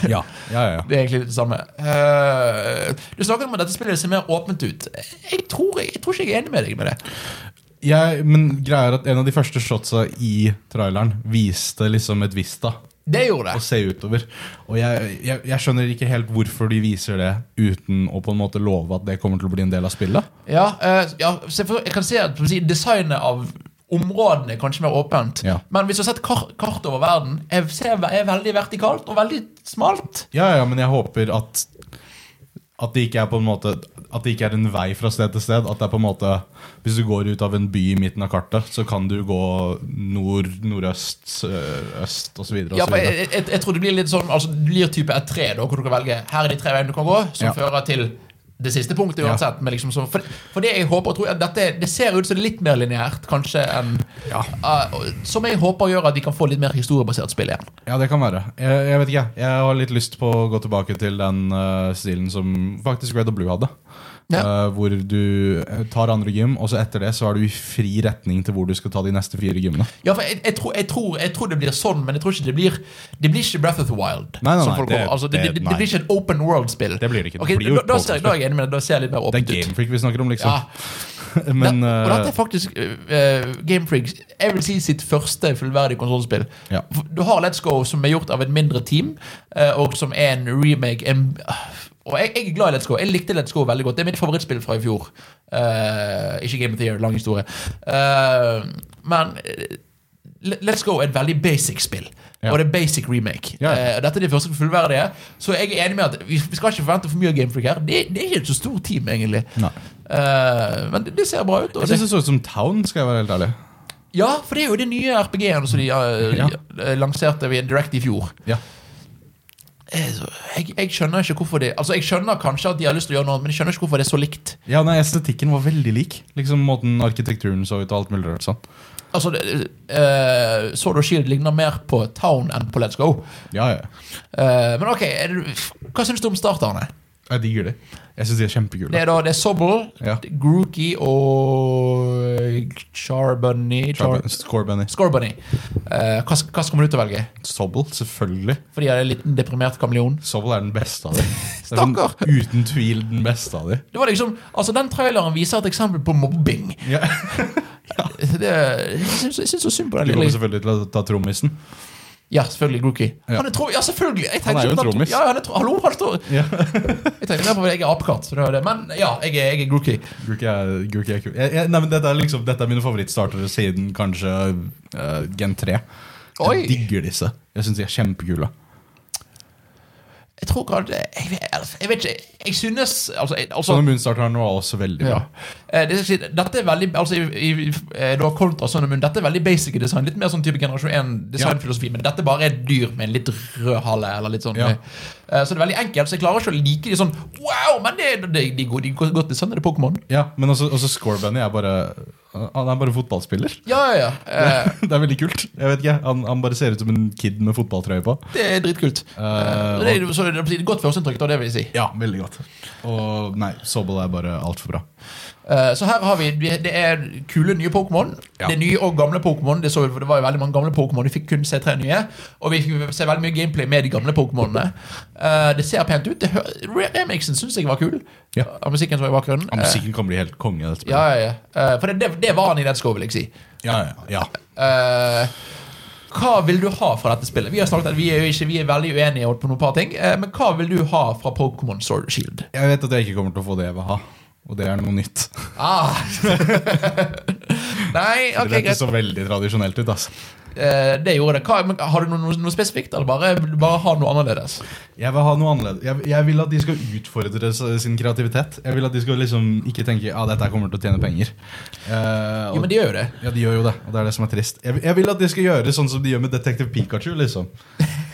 Ja, ja, ja. Det er egentlig litt det samme. Eh, du snakker om at dette spillet ser mer åpent ut. Jeg tror, jeg, tror ikke jeg er enig med deg med det. Jeg, men greia er at en av de første shotsa i traileren viste liksom et Vista Det gjorde å det. se utover. Og jeg, jeg, jeg skjønner ikke helt hvorfor de viser det uten å på en måte love at det kommer til å bli en del av spillet. Ja, eh, ja, så jeg, for, jeg kan se at på å si, designet av områdene er kanskje mer åpent. Ja. Men hvis du har sett kar kart over verden, er, ser, er veldig vertikalt og veldig smalt. Ja, ja, men jeg håper at at det ikke er på en måte At det ikke er en vei fra sted til sted. At det er på en måte Hvis du går ut av en by i midten av kartet, så kan du gå nord, nordøst, sø- øst osv. Ja, for jeg, videre jeg, jeg, jeg tror det blir litt sånn Altså, det blir type et tre, da, hvor du kan velge Her er de tre veiene du kan gå, som Ja. fører til det siste punktet Ja. uansett. Men liksom, så, for, for det jeg håper og tror, er at dette, det ser ut som det er litt mer lineært, kanskje, enn Ja. Eh, Som jeg håper gjør at de kan få litt mer historiebasert spill igjen. ja, det kan være. Jeg, jeg vet ikke, jeg. Jeg har litt lyst på å gå tilbake til den eh, stilen som faktisk Red og Blue hadde. Ja. Eh, hvor du eh, tar andre gym, og så etter det så er du i fri retning til hvor du skal ta de neste fire gymmene. Ja, for jeg, jeg, tror, jeg, tror, jeg tror det blir sånn, men jeg tror ikke det blir Det blir ikke Breath of the Wild. Nei, nei, som nei, folk det- håper. altså, det, det, det- det, nei. blir ikke et open world-spill. Det blir det ikke. Det Ok, blir jo da, da, et ser jeg, da er jeg enig med deg. Da ser jeg litt mer Det åpent er ut. Gamefreak vi snakker om, liksom. Ja, Men det, og dette eh, er faktisk uh, Game Freak Jeg vil si sitt første fullverdige konsollspill. Ja. Du har Let's Go, som er gjort av et mindre team, eh, og som er en remake. En, og jeg, jeg er glad i Let's Go. Jeg likte Let's Go veldig godt. Det er mitt favorittspill fra i fjor. Eh, ikke Game of the Year, lang historie. Eh, men eh, Le- Let's Go er et veldig basic spill. Ja. Og det er basic remake. Ja. Eh, dette er de første fullverdige. Så jeg er enig med at vi vi skal ikke forvente for mye av Game Freak her. Det, det er ikke et så stort team, egentlig. Nei. Eh, men det, det ser bra ut. Og jeg det, syns det så ut som Town, skal jeg være helt ærlig. ja, for det er jo de nye RPG-ene som de eh, Ja. eh, lanserte ved Direct i fjor. Ja. Eh, så Jeg, jeg skjønner ikke hvorfor det Altså, jeg skjønner kanskje at de har lyst til å gjøre noe, men jeg skjønner ikke hvorfor det er så likt. Ja, nei, Estetikken var veldig lik. Liksom Måten arkitekturen så ut og alt mulig rart. sånn Altså, det- eh, Sword og Shield ligner mer på Town enn på Let's Go. Ja, ja. Eh, men ok, er du, hva syns du om starterne? Jeg digger de. Jeg syns de er kjempekule. Det er da det er Sobble, Ja. Grookey og Charbunny Char Score Scorebunny. Scorbunny. Eh, hva, hva kommer du til å velge? Sobble, selvfølgelig. Fordi jeg er en liten deprimert kameleon? Sobble er den beste av dem. sånn Stakkar! Uten tvil den beste av dem. Det var liksom, altså Den traileren viser et eksempel på mobbing. Ja. Det, jeg syns jeg syns så synd på den De kommer lille selvfølgelig til å ta trommisen. Ja, selvfølgelig. Grookey. Ja. Han er tro, ja, selvfølgelig! Jeg Han er jo en tenkte- trommis. Ja, han er tro, hallo, han står Ja. Jeg tenkte mer på at jeg er apekatt, så det var det. men ja, jeg er, jeg er Grookey. Grookey er- Grookey er kul. Jeg- jeg- Nei, men Dette er liksom Dette er mine favorittstartere siden kanskje eh, Gen 3. Jeg Oi. digger disse. Jeg syns de er kjempekule. Jeg tror ikke at- Jeg, vet- jeg vet ikke. Jeg synes altså, jeg, altså, Sånne moonstarterne var også veldig bra. ja. Eh, det, skal jeg si, dette er veldig altså, i, i, eh, da kontra Sønn og Munn, Dette er veldig basic design. Litt mer sånn type generasjon 1-designfilosofi. Men dette bare er dyr med en litt rød hale. Eller litt sånn, eh, Ja. eh, så det er veldig enkelt. Så jeg klarer ikke å like de sånn Wow, men det, det, de, er gode, de går godt designet til Pokémon. Ja, Men også, også Scorebunny er bare Han er bare fotballspiller. Ja, ja, ja. Eh, Det er veldig kult. Jeg vet ikke, Han, han bare ser ut som en kid med fotballtrøye på. det er dritkult. Eh, det, er, så, det er et godt førsteinntrykk, da, det vil jeg si. Ja, veldig godt. Og nei, Sobble er bare altfor bra. Eh, Så her har vi vi- Det er kule nye Pokémon. Ja. Det er nye og gamle Pokémon. Det, så vi, for det var jo veldig mange gamle Pokémon. Vi fikk kun se tre nye. Og vi fikk se veldig mye gameplay med de gamle Pokémonene. Eh, det ser pent ut. Det hø- Re- Remixen syns jeg var kul. Ja. Av musikken som var i bakgrunnen. Ja, musikken kan bli helt konge. i Eh, dette spillet. ja, ja, ja. Eh, for det, det, det var han i Let's Go, vil jeg si. Ja, ja, ja. Eh, hva vil du ha fra dette spillet? Vi har snakket at vi er jo ikke Vi er veldig uenige på noen par ting. eh, men hva vil du ha fra Pokémon Sword og Shield? Jeg vet at jeg ikke kommer til å få det jeg vil ha. Og det er noe nytt. Ah. Nei, ok, det greit. hørtes så veldig tradisjonelt ut. Altså. Eh, det gjorde det. Hva, men, har du noe, noe, noe spesifikt, eller bare, vil du bare ha noe annerledes? Jeg vil ha noe annerledes jeg, jeg vil at de skal utfordre s- sin kreativitet. Jeg vil at de skal liksom ikke tenke at ah, dette her kommer til å tjene penger. Eh, Jo, og- men de gjør jo det. Ja, de gjør jo det, og det er det som er trist. Jeg, jeg vil at de skal gjøre sånn som de gjør med Detektiv Pikachu, liksom.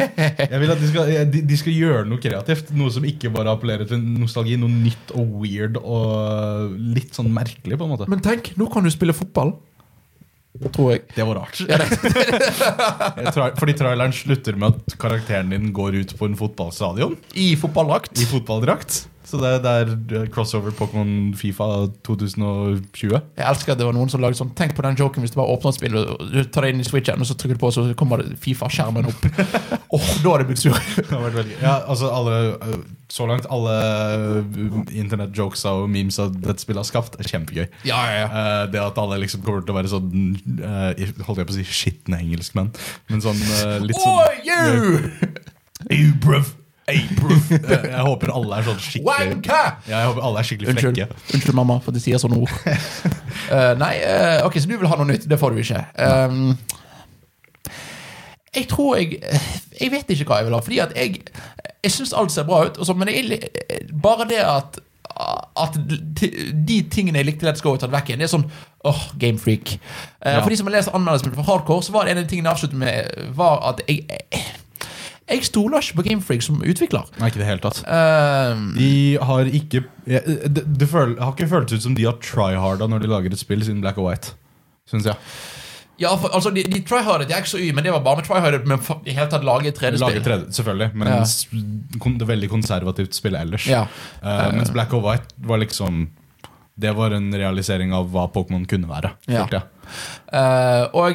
Jeg vil at de skal, de, de skal gjøre noe kreativt. Noe som ikke bare appellerer til nostalgi. Noe nytt og weird og litt sånn merkelig, på en måte. Men tenk, nå kan du spille fotball. Tror jeg. Det var rart. Jeg tra- Fordi traileren slutter med at karakteren din går ut på en fotballstadion I fotballdrakt. i fotballdrakt. Så det, det er crossover Pokémon Fifa 2020. Jeg elsker at det var noen som lagde sånn Tenk på den joken hvis det var åpningsspill, og du tar det inn i switchen, og så trykker du på, så kommer det Fifa-skjermen opp. Åh, Da hadde jeg blitt sur. Det har vært veldig gøy. Ja, altså alle, øh, Så langt alle øh, internettjokesa og memesa dette spillet har skapt, er kjempegøy. Ja, ja, ja. Eh, det at alle liksom kommer til å være sånn eh, Holdt jeg på å si skitne engelskmenn, men sånn eh, litt sånn Oh, you! Hey, bruv! Hey, bruv! Eh, jeg håper alle er sånn skikkelig Wanka! ja, Jeg håper alle er skikkelig Unnskyld, frekke. Unnskyld, mamma, for de sier sånne ord. Eh, nei, eh, ok, så du vil ha noe nytt. Det får du ikke. Um, jeg tror jeg Jeg vet ikke hva jeg vil ha. Fordi at jeg Jeg syns alt ser bra ut, og så- men jeg, er li- eh, bare det at at de de tingene jeg likte Let's Go er tatt vekk igjen. Det er sånn åh, Game Freak. Eh, Ja. For de som har lest anmeldelsen for hardcore, så var det en av de tingene jeg avsluttet med, var at jeg Jeg, jeg stoler ikke på Game Freak som utvikler. Nei, ikke i det hele tatt. Um, De har ikke jeg- Det det føl, har ikke føltes ut som de har tryharda når de lager et spill siden Black and White. Synes jeg Ja, for, altså, de, de tryhardet i X og Y, men det var bare med tryhardet med fa- i hele tatt lage et 3D-spill. Lager 3D, selvfølgelig, men Ja. s- kon- det er veldig konservativt spill ellers. Ja. Eh, mens Black and White var liksom Det var en realisering av hva Pokémon kunne være. Ja. følte jeg. Eh, og,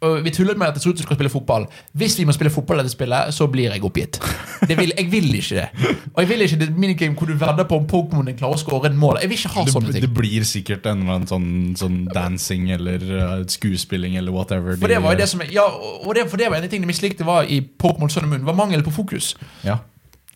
og vi tullet med at det så ut som vi skulle spille fotball. Hvis vi må spille fotball i dette spillet, så blir jeg oppgitt. Det vil, jeg vil ikke det. Og jeg vil ikke det minigame hvor du vedder på om Pokémon din klarer å skåre en mål. Jeg vil ikke ha sånne Det, ting. det blir sikkert en eller annen sånn, sånn dancing eller eh, skuespilling eller whatever. For det var jo det som Ja, og det, for det var en av de tingene jeg mislikte var i Pokémon Sun and Moon, var mangel på fokus. Ja.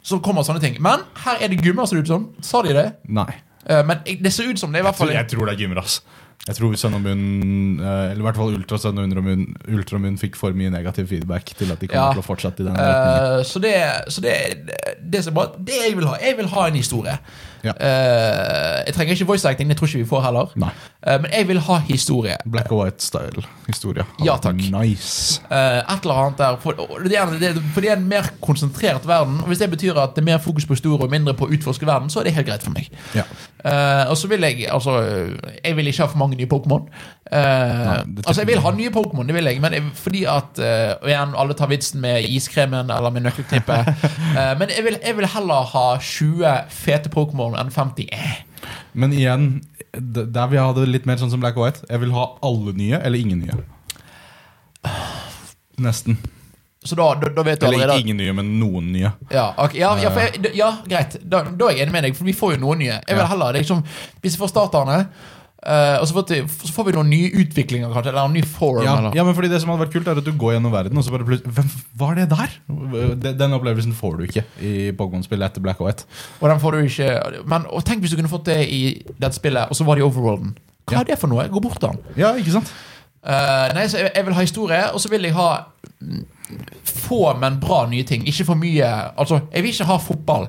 Så kommer sånne ting. Men her er det gummer, ser det ut som. Sa de det? Nei. Eh, men jeg- det ser ut som det, i hvert Så fall. jeg tror det er gymmer, ass. Jeg tror Sønn og Munn, eh, eller i hvert fall Ultra Sønn og Under og Munn, Ultra Munn fikk for mye negativ feedback til at de Ja. kommer til å fortsette i den retningen. Eh, så det, så det, det, som er bra, det jeg vil ha, jeg vil ha en historie. Ja. Eh, jeg trenger ikke voice acting, det tror ikke vi får heller. Nei. Eh, men jeg vil ha historie. Black and White-style historie. Ja, takk. Nice. Eh, et eller annet der. For, og det er, det, for det er en mer konsentrert verden. Og hvis det betyr at det er mer fokus på historie og mindre på å utforske verden, så er det helt greit for meg. Ja. Eh, og så vil jeg altså Jeg vil ikke ha for mange nye Pokémon. Eh, det altså, jeg vil ha nye Pokémon, det vil jeg, men jeg, fordi at eh, Og igjen, alle tar vitsen med iskremen eller med nøkkelknippet. Eh, men jeg vil, jeg vil heller ha 20 fete Pokémon enn 50. Eh. Men igjen, d- der vil jeg ha det litt mer sånn som Black and White. Jeg vil ha alle nye, eller ingen nye. Nesten. Så da, da, da vet du Eller allerede ikke ingen nye, men noen nye. Ja, ok, ja, ja, for jeg, ja greit. Da, da er jeg enig med deg, for vi får jo noen nye. Jeg vil Ja. heller liksom, Hvis vi får starterne, eh, og så får, vi- så får vi noen nye utviklinger, kanskje. Eller en ny form. Ja, eller. ja, men fordi Det som hadde vært kult, er at du går gjennom verden, og så bare plutselig Hvem var det der? Den- Den opplevelsen får du ikke i Pokémon-spillet etter Black and White. Og den får du ikke Men og tenk hvis du kunne fått det i det spillet, og så var det i overworlden. Hva Ja. er det for noe? Gå bort til den. Ja, ikke sant? Eh, nei, så jeg, jeg vil ha historie, og så vil jeg ha mm, få, men bra nye ting. Ikke for mye Altså, jeg vil ikke ha fotball.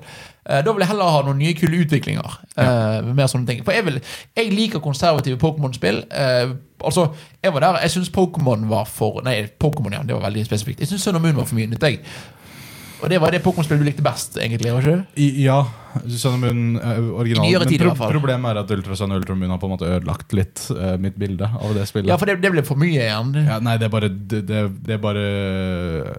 Eh, Da vil jeg heller ha noen nye kule utviklinger. eh, Mer sånne ting. For jeg, vil, jeg liker konservative Pokémon-spill. Eh, altså, jeg var der Jeg syns Pokémon var for Nei, Pokémon, ja. Det var veldig spesifikt. Jeg syns Sønn og Moon var for mye nytt, jeg. Og det var det Pokémon-spillet du likte best, egentlig. var ikke det? I, ja, Sun and Moon eh, originalen. Nyere tid i hvert fall. problemet er at Ultra Sun og Ultra Moon har på en måte ødelagt litt eh, mitt bilde av det spillet. Ja, for det, det ble for mye igjen. Ja, nei, det er bare det, det, det er bare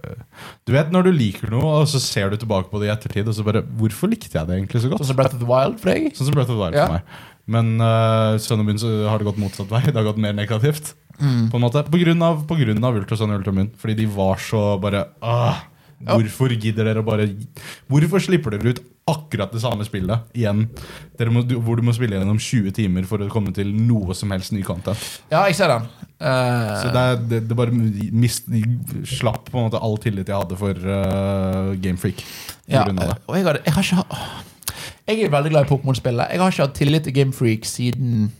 Du vet når du liker noe, og så ser du tilbake på det i ettertid, og så bare Hvorfor likte jeg det egentlig så Sånn godt? som Breath of the Wild for deg. Sånn som Breath of the Wild Ja. for meg. Men uh, Sun and Moon så har det gått motsatt vei. Det har gått mer negativt. Mm. På en måte På grunn av, på grunn av Ultra Sun og Ultra Moon. Fordi de var så bare ah, Ja. Hvorfor gidder dere å bare Hvorfor slipper dere ut akkurat det samme spillet igjen? Dere må, du, hvor du må spille gjennom 20 timer for å komme til noe som helst ny content. Ja, jeg ser den. Eh, Så det, er, det, det bare mist, slapp på en måte all tillit jeg hadde for uh, Gamefreak. Ja, Ja, det. og jeg, hadde, jeg har ikke hatt- Jeg er veldig glad i Pokémon-spillet. Jeg har ikke hatt tillit til Gamefreak siden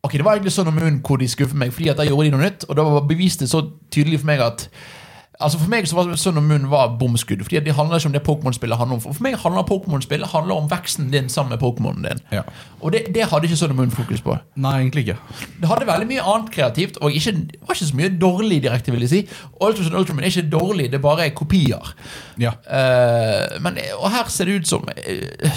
Ok, Det var egentlig sånn om munnen hvor de skuffet meg, fordi at da gjorde de noe nytt. Og da var- beviste det så tydelig for meg at Altså For meg så var Sønn og Munn var bomskudd. Fordi at det handler ikke om det Pokémon-spillet handler om. For for meg handler Pokémon-spillet handler om veksten din sammen med Pokémonen din. Ja. Og det, det hadde ikke Sønn og Munn fokus på. Nei, egentlig ikke. Det hadde veldig mye annet kreativt, og ikke, det var ikke så mye dårlig direkte, vil jeg si. Ultraman Ultraman er ikke dårlig, det er bare kopier. Ja. Eh, men, og her ser det ut som eh,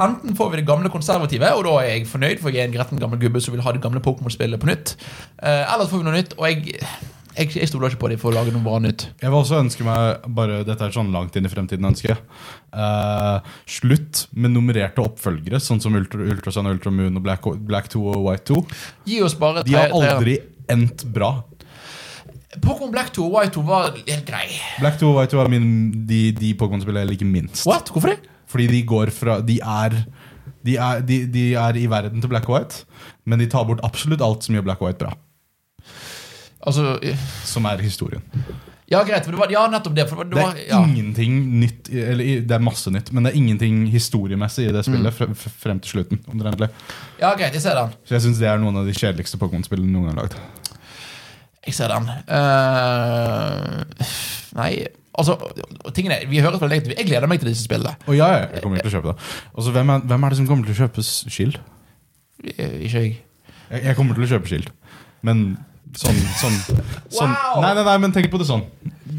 Enten får vi det gamle konservative, og da er jeg fornøyd, for jeg er en gretten gammel gubbe som vil ha det gamle Pokémon-spillet på nytt. Eh, eller så får vi noe nytt, og jeg, jeg, jeg stoler ikke på dem for å lage noe bra nytt. Jeg vil også ønske meg bare, Dette er sånn langt inn i fremtiden ønske. eh, slutt med nummererte oppfølgere, sånn som Ultra, Ultrasun, Ultra Moon og Black, Black 2 og White 2. Gi oss bare De har tre- tre- aldri endt bra. Pokémon Black 2 og White 2 var helt grei. Black 2 og White 2 er min, de, de Pokémon-spillene jeg liker minst. What? Hvorfor det? Fordi de går fra De er de er, de, de er i verden til black og white, men de tar bort absolutt alt som gjør black og white bra. Altså Som er historien. Ja, greit. For det var, ja, nettopp det. For det Det var, det er var, ja. ingenting nytt Eller i- det er masse nytt, men det er ingenting historiemessig i det Mm. spillet fre- fre- frem til slutten. omtrentlig. ja, greit. Jeg ser den. Så jeg syns det er noen av de kjedeligste Pokémon-spillene noen gang lagd. Jeg ser den. Eh, nei, altså tingene, Vi høres veldig Jeg gleder meg til disse spillene. Og ja, ja, jeg kommer til å kjøpe det. Og så hvem, er- hvem er det som kommer til å kjøpe s- Shield? Eh, Ikke jeg. Jeg, jeg kommer til å kjøpe Shield, men sånn, sånn, sånn. Wow! Nei, nei, nei, men tenk på det sånn.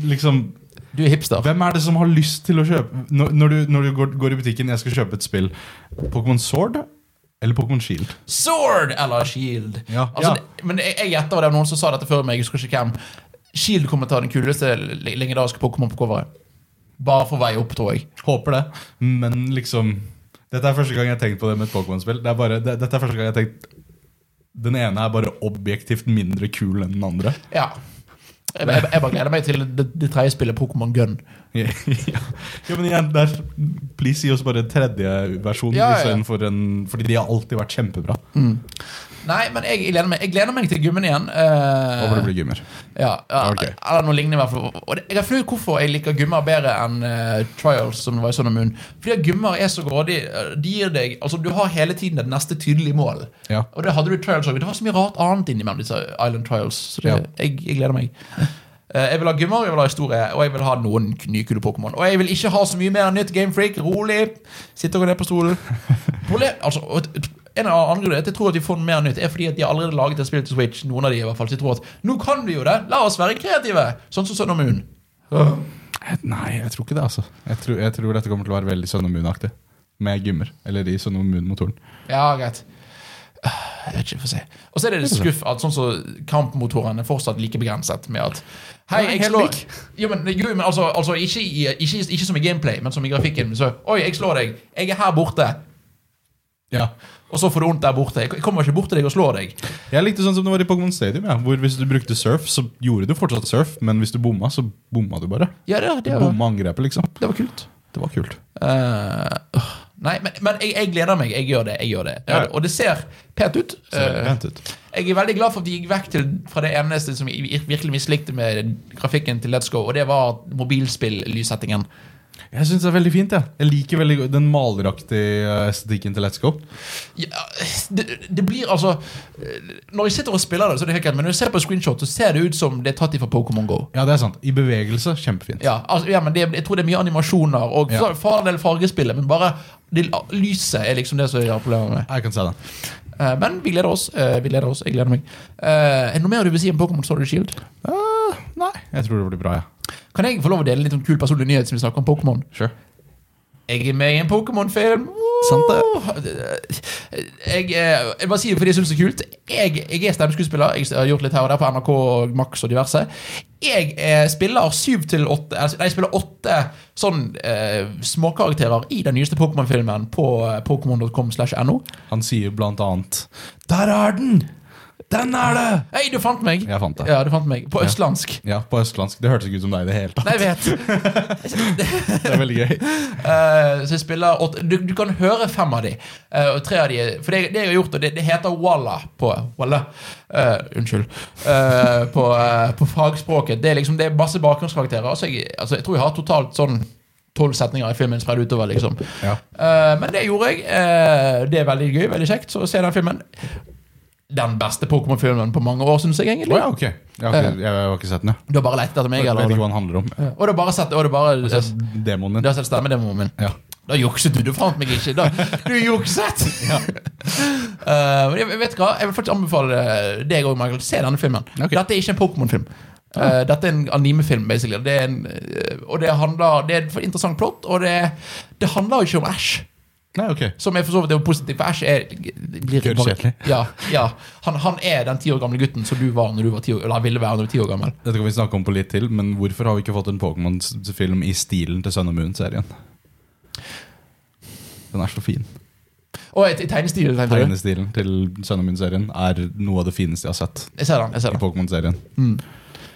Liksom Du er hipster. Hvem er det som har lyst til å kjøpe Når, når du, når du går, går i butikken Jeg skal kjøpe et spill Pokémon Sword eller Pokémon Shield? Sword eller Shield. Ja. Altså, Ja. det- Men jeg jeg gjetter, og det var noen som sa dette før meg, jeg husker ikke hvem. Shield kommer til å ha den kuleste le- legendariske Pokémon på coveret. Bare for vei opp, tror jeg. Håper det Men liksom Dette er første gang jeg har tenkt på det med et Pokémon-spill det er bare, det, Dette er første gang jeg har tenkt Den ene er bare objektivt mindre kul enn den andre Ja. Jeg, jeg, jeg bare gleder meg til det, det tredje spillet, Pokémon Gun. Ja, ja men igjen det er- Please gi oss bare tredje versjon Ja, ja, ja. istedenfor en- Fordi de har alltid vært kjempebra Nei, men jeg, gleder meg. Jeg gleder meg til gummen igjen. eh, Håper det blir gymmer Ja, ja Ok. Eller noe lignende. i hvert fall. Og det, jeg har funnet ut hvorfor jeg liker gummer bedre enn eh, trials. som det var i Sun and Moon. Fordi at gummer er så grådig. eh, De gir deg, altså Du har hele tiden et neste tydelig mål. Ja. Og det hadde du i trials også. Det var så mye rart annet innimellom disse Island Trials. Så det, Ja. jeg, jeg gleder meg. Eh, Jeg vil ha gummer, jeg vil ha historie og jeg vil ha noen k- nye kule Pokémon. Og jeg vil ikke ha så mye mer nytt Gamefreak. Rolig. Sitt dere ned på stolen. Problem, altså, og et- en av andre grunner til at jeg tror at vi får mer nytt, er fordi at de har allerede laget et spill til Switch. Noen av de i hvert fall. Så jeg tror at nå kan vi jo det! La oss være kreative! Sånn som Sun og Moon. Eh, Nei, jeg tror ikke det, altså. Jeg tror, jeg tror dette kommer til å være veldig Sønn og Moon-aktig. Med gymmer. Eller i Sønn og Moon-motoren. Ja, greit. Øh, Jeg vet ikke, få se. Og så er det litt skuff at sånn som kampmotorene er fortsatt like begrenset med at Hei, Nei, jeg helt slår lik. Jo, men, jo, men altså, altså ikke, i, ikke, ikke som i gameplay, men som i grafikken. Så Oi, jeg slår deg. Jeg er her borte. Ja. Og så får du vondt der borte. Jeg kommer ikke bort til deg og slår deg. Jeg likte sånn som det var i Pokémon Stadium, ja, hvor hvis du brukte surf, så gjorde du fortsatt surf, men hvis du bomma, så bomma du bare. Ja, det, Du det, var, bomma angrepet, liksom. det var kult. Det var kult. Eh, øh, nei, men, men jeg, jeg gleder meg. Jeg gjør det. jeg gjør det Ja. Og det ser pent ut. Så veldig Eh, pent ut. Jeg er veldig glad for at de gikk vekk til, fra det eneste som jeg vir- virkelig mislikte med grafikken til Let's Go, og det var mobilspill-lyssettingen. Jeg syns det er veldig fint. Jeg, jeg liker veldig godt den maleraktige eh, estetikken til Let's Go. Ja, det, det blir altså Når jeg sitter og spiller det, så er det helt greit, men når jeg ser på screenshot, så ser det ut som det er tatt ifra Pokémon Go. Ja, det er sant. I bevegelse, kjempefint. Ja, altså, ja men det, Jeg tror det er mye animasjoner og Ja. ja. fordel fargespillet, men bare det, lyset er liksom det som jeg har problemer med. Jeg kan se den. Eh, men vi gleder oss. eh, vi gleder oss, Jeg gleder meg. Eh, er det noe mer du vil si om Pokémon Story Shield? Eh, nei, jeg tror det blir bra, jeg. Kan jeg få lov å dele litt om kul personlig nyhet som vi snakker om Pokémon? Ja. Sure. Jeg er med i en Pokémon-film! Woo! Sant Jeg, eh, jeg bare sier det fordi jeg syns det er kult. Jeg, jeg er stemmeskuespiller. Jeg har gjort litt her og der på NRK og Max og diverse. Jeg eh, spiller syv til åtte altså, Nei, jeg spiller åtte sånn eh, småkarakterer i den nyeste Pokémon-filmen på eh, pokémon.com slash no. Han sier blant annet Der er den! Den er det! Hei, du fant meg! Jeg fant det. Ja, du fant meg. På østlandsk. Ja, på østlandsk. Det hørtes ikke ut som deg i det hele tatt. Nei, jeg vet. Det er veldig gøy. Eh, så jeg spiller åtte du, du kan høre fem av de Eh, Og tre av de er- For det, det jeg har gjort, og det, det heter Walla på Walla Eh, Unnskyld. Eh, på, eh, på fagspråket. Det er liksom Det er masse bakgrunnskarakterer. Altså jeg, altså jeg tror jeg har totalt sånn tolv setninger i filmen spredd utover, liksom. Ja. Eh, men det gjorde jeg. Eh, det er veldig gøy, veldig kjekt så å se den filmen. Den beste Pokémon-filmen på mange år, syns jeg Å egentlig. ja, ok. Jeg har ikke, jeg har ikke sett den, jeg. Du har bare lett etter meg, Jeg eller? vet ikke hva den handler om. Og du har bare sett Og du har bare Demonen Du din. har sett stemmedemoen min? Ja. Da jukset du. Du fant meg ikke. Da, du jukset! Eh, men jeg, vet du hva? jeg vil faktisk anbefale deg òg, Michael, se denne filmen. Ok. Dette er ikke en Pokémon-film. Eh, dette er en animefilm, basically. Det er en, eh, og det handler Det er et interessant plott, og det, det handler jo ikke om Ash. Nei, ok. Som er for så vidt er jo positivt, for Ash er blir Gørr kjedelig. Ja, ja. Han, han er den ti år gamle gutten som du var når du var ti år, eller ville være når du var ti år gammel. Dette kan vi snakke om på litt til, men hvorfor har vi ikke fått en Pokémon-film i stilen til Sun and Moon-serien? Den er så fin. Og i i tegnestilen, tenkte du? Tegnestilen til Sun and Moon-serien er noe av det fineste jeg har sett Jeg ser den. jeg ser i den Pokémon-serien. Den-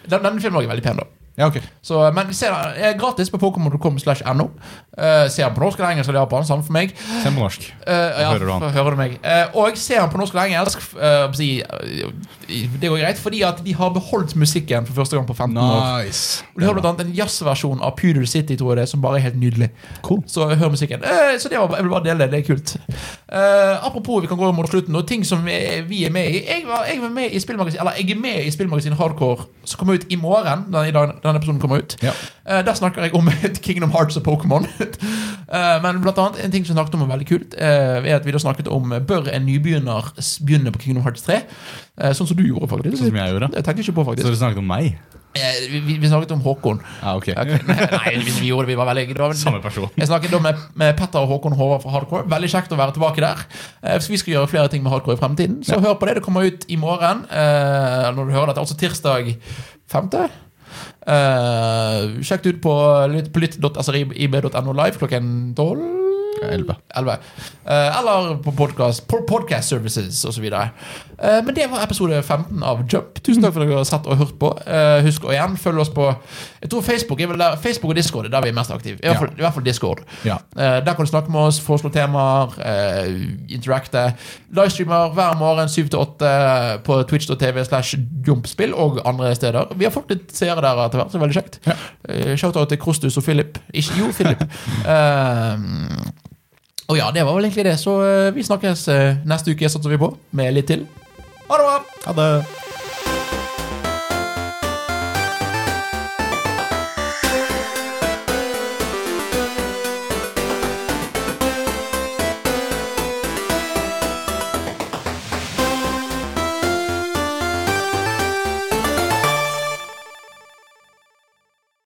Denne filmen også er veldig pen, da. Ja, ok. Så, eh, men se, den er gratis på pokémon.com slash no. Eh, se den på norsk eller engelsk eller japan, samme for meg. Se på norsk. Eh, ja, hører du han. for- hører du meg. Eh, og se den på norsk eller engelsk. f- eh, si, eh, det går greit, fordi at de har beholdt musikken for første gang på 15 år. Nice. Og De har blant annet en jazzversjon av Pudel City tror jeg det, er, som bare er helt nydelig. Cool. Så hør musikken. Eh, så det var, jeg vil bare dele det. Det er kult. Eh, apropos, vi kan gå mot slutten, og ting som vi, vi er med i. Jeg, var, jeg, var med i spillmagasin, eller, jeg er med i Spillmagasin Hardcore, som kommer ut i morgen. Den, i dag, denne episoden kommer ut. Ja. Eh, der snakker jeg om et Kingdom Hearts og Pokémon. Eh, men blant annet en ting som vi snakket om er veldig kult, eh, er at vi da snakket om eh, bør en nybegynner s- begynne på Kingdom Hearts 3? Eh, sånn som du gjorde, faktisk. Sånn som jeg gjorde. Det tenkte jeg ikke på, Så faktisk. dere snakket om meg? Eh, vi, vi- vi snakket om Håkon. Ja, ok. Ok, Nei, vi, vi gjorde det, vi var veldig det var, Samme person. Jeg snakket da med, med Petter og Håkon Håvard fra Hardcore. Veldig kjekt å være tilbake der. Eh, så vi skal gjøre flere ting med Hardcore i fremtiden. Så hør på det. Det kommer ut i morgen. Eh, når du hører dette, altså tirsdag 5. Eh, sjekk det ut på, lytt- altså på lytt.srib.no live klokken 12. Elleve. 11. Eh, eller på podcast, på podcast services osv. Uh, men det var episode 15 av Jump. Tusen takk for at dere har sett og hørt på. Eh, husk å igjen følg oss på Jeg tror Facebook er vel der, Facebook og Discord er der vi er mest aktive. I hvert fall, i hvert fall Discord. Ja. Eh, der kan du snakke med oss, foreslå temaer, eh, interacte. Livestreamer hver morgen 7 til 8 på twitch.tv slash jumpspill og andre steder. Vi har fått litt seere der etter hvert, så det er veldig kjekt. Ja. Eh, Shoutout til Krostus og Philip. Ikke jo, Philip. Eh, og ja, det var vel egentlig det. Så eh, vi snakkes eh, neste uke, satser vi på, med litt til. Ha det bra! Ha det.